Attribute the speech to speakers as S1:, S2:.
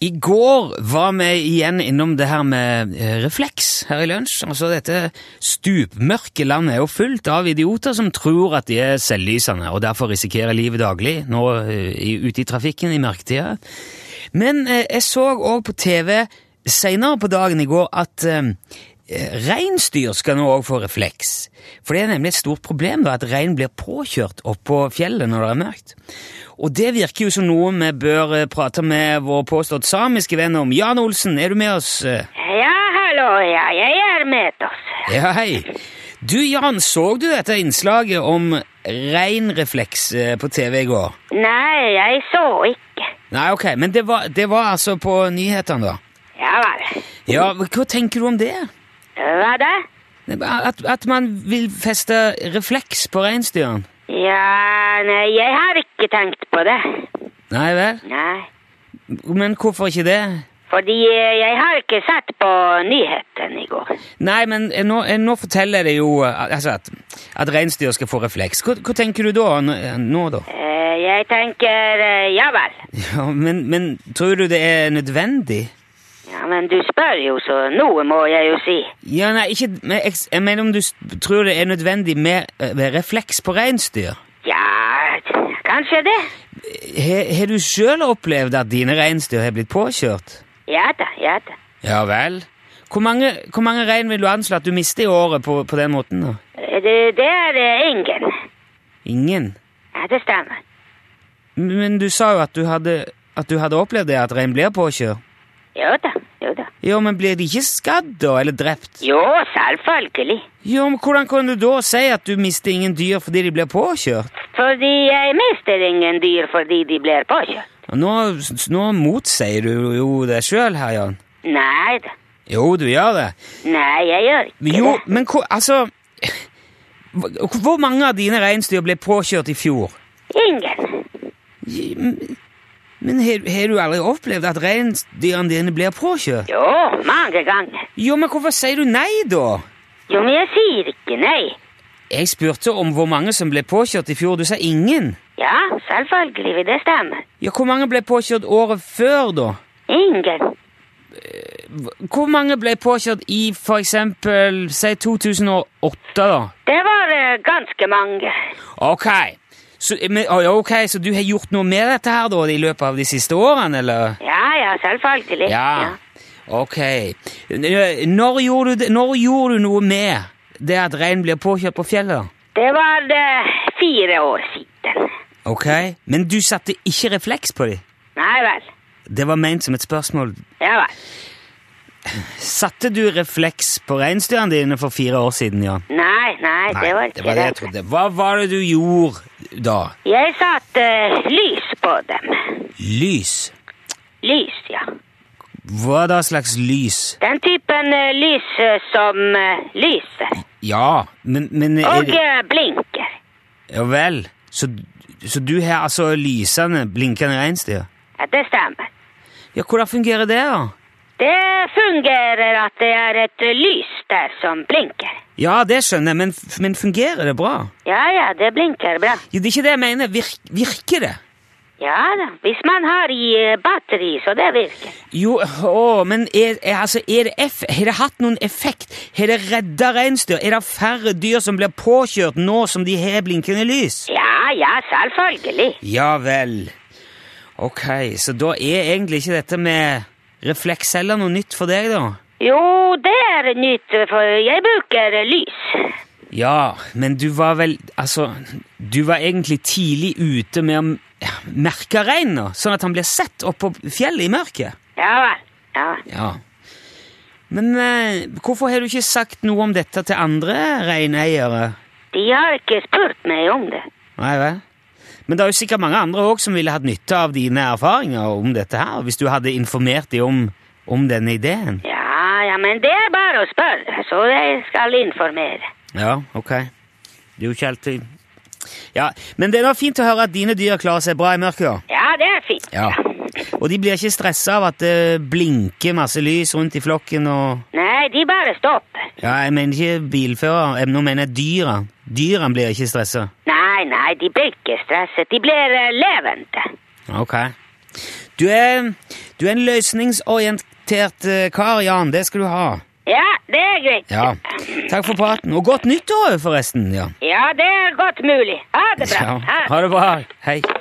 S1: I går var vi igjen innom det her med eh, refleks her i lunsj. Altså Dette stupmørke landet er jo fullt av idioter som tror at de er selvlysende, og derfor risikerer livet daglig nå eh, i- ute i trafikken i mørketida. Men eh, jeg så òg på TV seinere på dagen i går at eh, reinsdyr skal nå òg få refleks. For det er nemlig et stort problem da, at rein blir påkjørt opp på fjellet når det er mørkt. Og det virker jo som noe vi bør eh, prate med vår påstått samiske venn om. Jan Olsen, er du med oss? Eh,
S2: Ja, hallo, ja, jeg er med oss.
S1: Ja, hei. Du, Jan, så du dette innslaget om reinrefleks eh, på TV i går?
S2: Nei, jeg så ikke.
S1: Nei, ok, men det var, det var altså på nyhetene, da.
S2: Ja vel.
S1: Ja, hva tenker du om det?
S2: Hva da?
S1: At, at man vil feste refleks på reinsdyrene?
S2: Ja, nei, jeg har ikke tenkt på det.
S1: Nei vel?
S2: Nei,
S1: Men hvorfor ikke det?
S2: fordi eh, jeg har ikke sett på nyheten i går.
S1: Nei, men eh, nå, eh, nå forteller det jo eh, altså at, at reinsdyr skal få refleks. Hva, hva tenker du da? n- eh, Nå, da?
S2: Eh, Jeg tenker, eh, ja vel.
S1: Ja, men, men tror du det er nødvendig?
S2: Ja, men du spør jo, så noe må jeg jo si.
S1: Ja, nei, ikke men Jeg jeg mener om du s- tror det er nødvendig med, eh, med refleks på reinsdyr?
S2: Ja, kanskje det.
S1: Har har du sjøl opplevd at dine reinsdyr har blitt påkjørt?
S2: Ja da, ja da.
S1: Ja vel? Hvor mange, hvor mange rein vil du anslå at du mister i året på, på den måten? da?
S2: Eh, Det, det er eh, ingen.
S1: Ingen?
S2: Ja, det stemmer.
S1: Men du sa jo at du hadde, at du hadde opplevd det, at rein blir påkjørt.
S2: Jo da, jo da.
S1: Jo, men blir de ikke skadd da, eller drept?
S2: Jo, selvfølgelig.
S1: Jo, men hvordan kan du da si at du mister ingen dyr fordi de blir påkjørt?
S2: Fordi jeg mister ingen dyr fordi de blir påkjørt.
S1: Og Nå, nå motsier du jo deg sjøl her, Jan.
S2: Nei da.
S1: Jo, du gjør det.
S2: Nei, jeg gjør ikke
S1: Men jo,
S2: det.
S1: men hvor, altså Hvor hvor mange av dine reinsdyr ble påkjørt i fjor?
S2: Ingen.
S1: Men har har du aldri opplevd at reinsdyrene dine blir påkjørt?
S2: Jo, mange ganger.
S1: Jo, men hvorfor sier du nei, da?
S2: Jo, men jeg sier ikke nei.
S1: Jeg spurte om hvor mange som ble påkjørt i fjor. Du sa ingen.
S2: Ja, selvfølgelig vil det stemme.
S1: Ja, Hvor mange ble påkjørt året før, da?
S2: Ingen.
S1: Hvor mange ble påkjørt i for eksempel, si 2008, da?
S2: Det var eh, ganske mange.
S1: Ok, så, men, å, ja, ok, så du har gjort noe med dette her da i løpet av de siste årene, eller?
S2: Ja, ja, selvfølgelig.
S1: Ja. Ok. N- Når gjorde du, det- når gjorde du noe med det at rein blir påkjørt på fjellet? da?
S2: Det var eh, fire år siden.
S1: Ok, men du satte ikke refleks på dem?
S2: Nei vel.
S1: Det var ment som et spørsmål.
S2: Ja vel.
S1: Satte du refleks på reinsdyrene dine for fire år siden, Jan?
S2: Nei, nei, det var
S1: det
S2: ikke
S1: var det jeg trodde. Hva var det du gjorde da?
S2: Jeg satte eh, lys på dem.
S1: Lys.
S2: Lys, ja.
S1: Hva da slags lys?
S2: Den typen eh, lys eh, som eh, lyser
S1: Ja, men, men er
S2: og
S1: det-
S2: eh, blinker.
S1: Ja vel. Så, så du har altså lysende, blinkende reinsdyr?
S2: Ja, det stemmer.
S1: Ja, hvordan fungerer det, da?
S2: Det fungerer at det er et eh, lys der som blinker.
S1: Ja, det skjønner jeg, men, f- men fungerer det bra?
S2: Ja, ja, det blinker bra.
S1: Ja, det er ikke det jeg mener. Virk, virker det?
S2: Ja da, hvis man har i eh, batteri, så det virker.
S1: Jo, å, men er, er, altså, er det eff, har det hatt noen effekt? Har det redda reinsdyr? Er det færre dyr som blir påkjørt nå som de har blinkende lys?
S2: Ja, ja, selvfølgelig.
S1: Ja vel. Ok, så da er egentlig ikke dette med refleks heller noe nytt for deg, da?
S2: Jo, det er nytt, for jeg bruker eh, lys.
S1: Ja, men du var vel Altså, du var egentlig tidlig ute med å m- ja, merke reinen, da, sånn at han blir sett oppå fjellet i mørket.
S2: Ja vel. Ja. vel.
S1: Ja. Men eh, hvorfor har du ikke sagt noe om dette til andre reineiere?
S2: De har ikke spurt meg om det.
S1: Nei vel? Men det er jo sikkert mange andre òg som ville hatt nytte av dine erfaringer om dette her, hvis du hadde informert dem om, om denne ideen.
S2: Ja, ja, men det er bare å spørre, så jeg skal informere.
S1: Ja, ok. Det er jo ikke alltid Ja, men det er da fint å høre at dine dyr klarer seg bra i mørket, da.
S2: Ja, det er fint.
S1: Ja. Og de blir ikke stressa av at det blinker masse lys rundt i flokken og
S2: Nei, de bare stopper.
S1: Ja, jeg mener ikke bilfører, jeg- nå mener jeg dyra. Dyra blir ikke stressa.
S2: Nei, nei, de blir ikke stresset. De blir eh, levende.
S1: Ok. Du er Du er en løsningsorientert eh, kar, Jan. Det skal du ha.
S2: Ja, det er greit.
S1: Ja. Takk for praten. Og godt nyttår, forresten. Ja.
S2: Ja, det er godt mulig. Ha det bra.
S1: Ja. Ha det bra. Hei.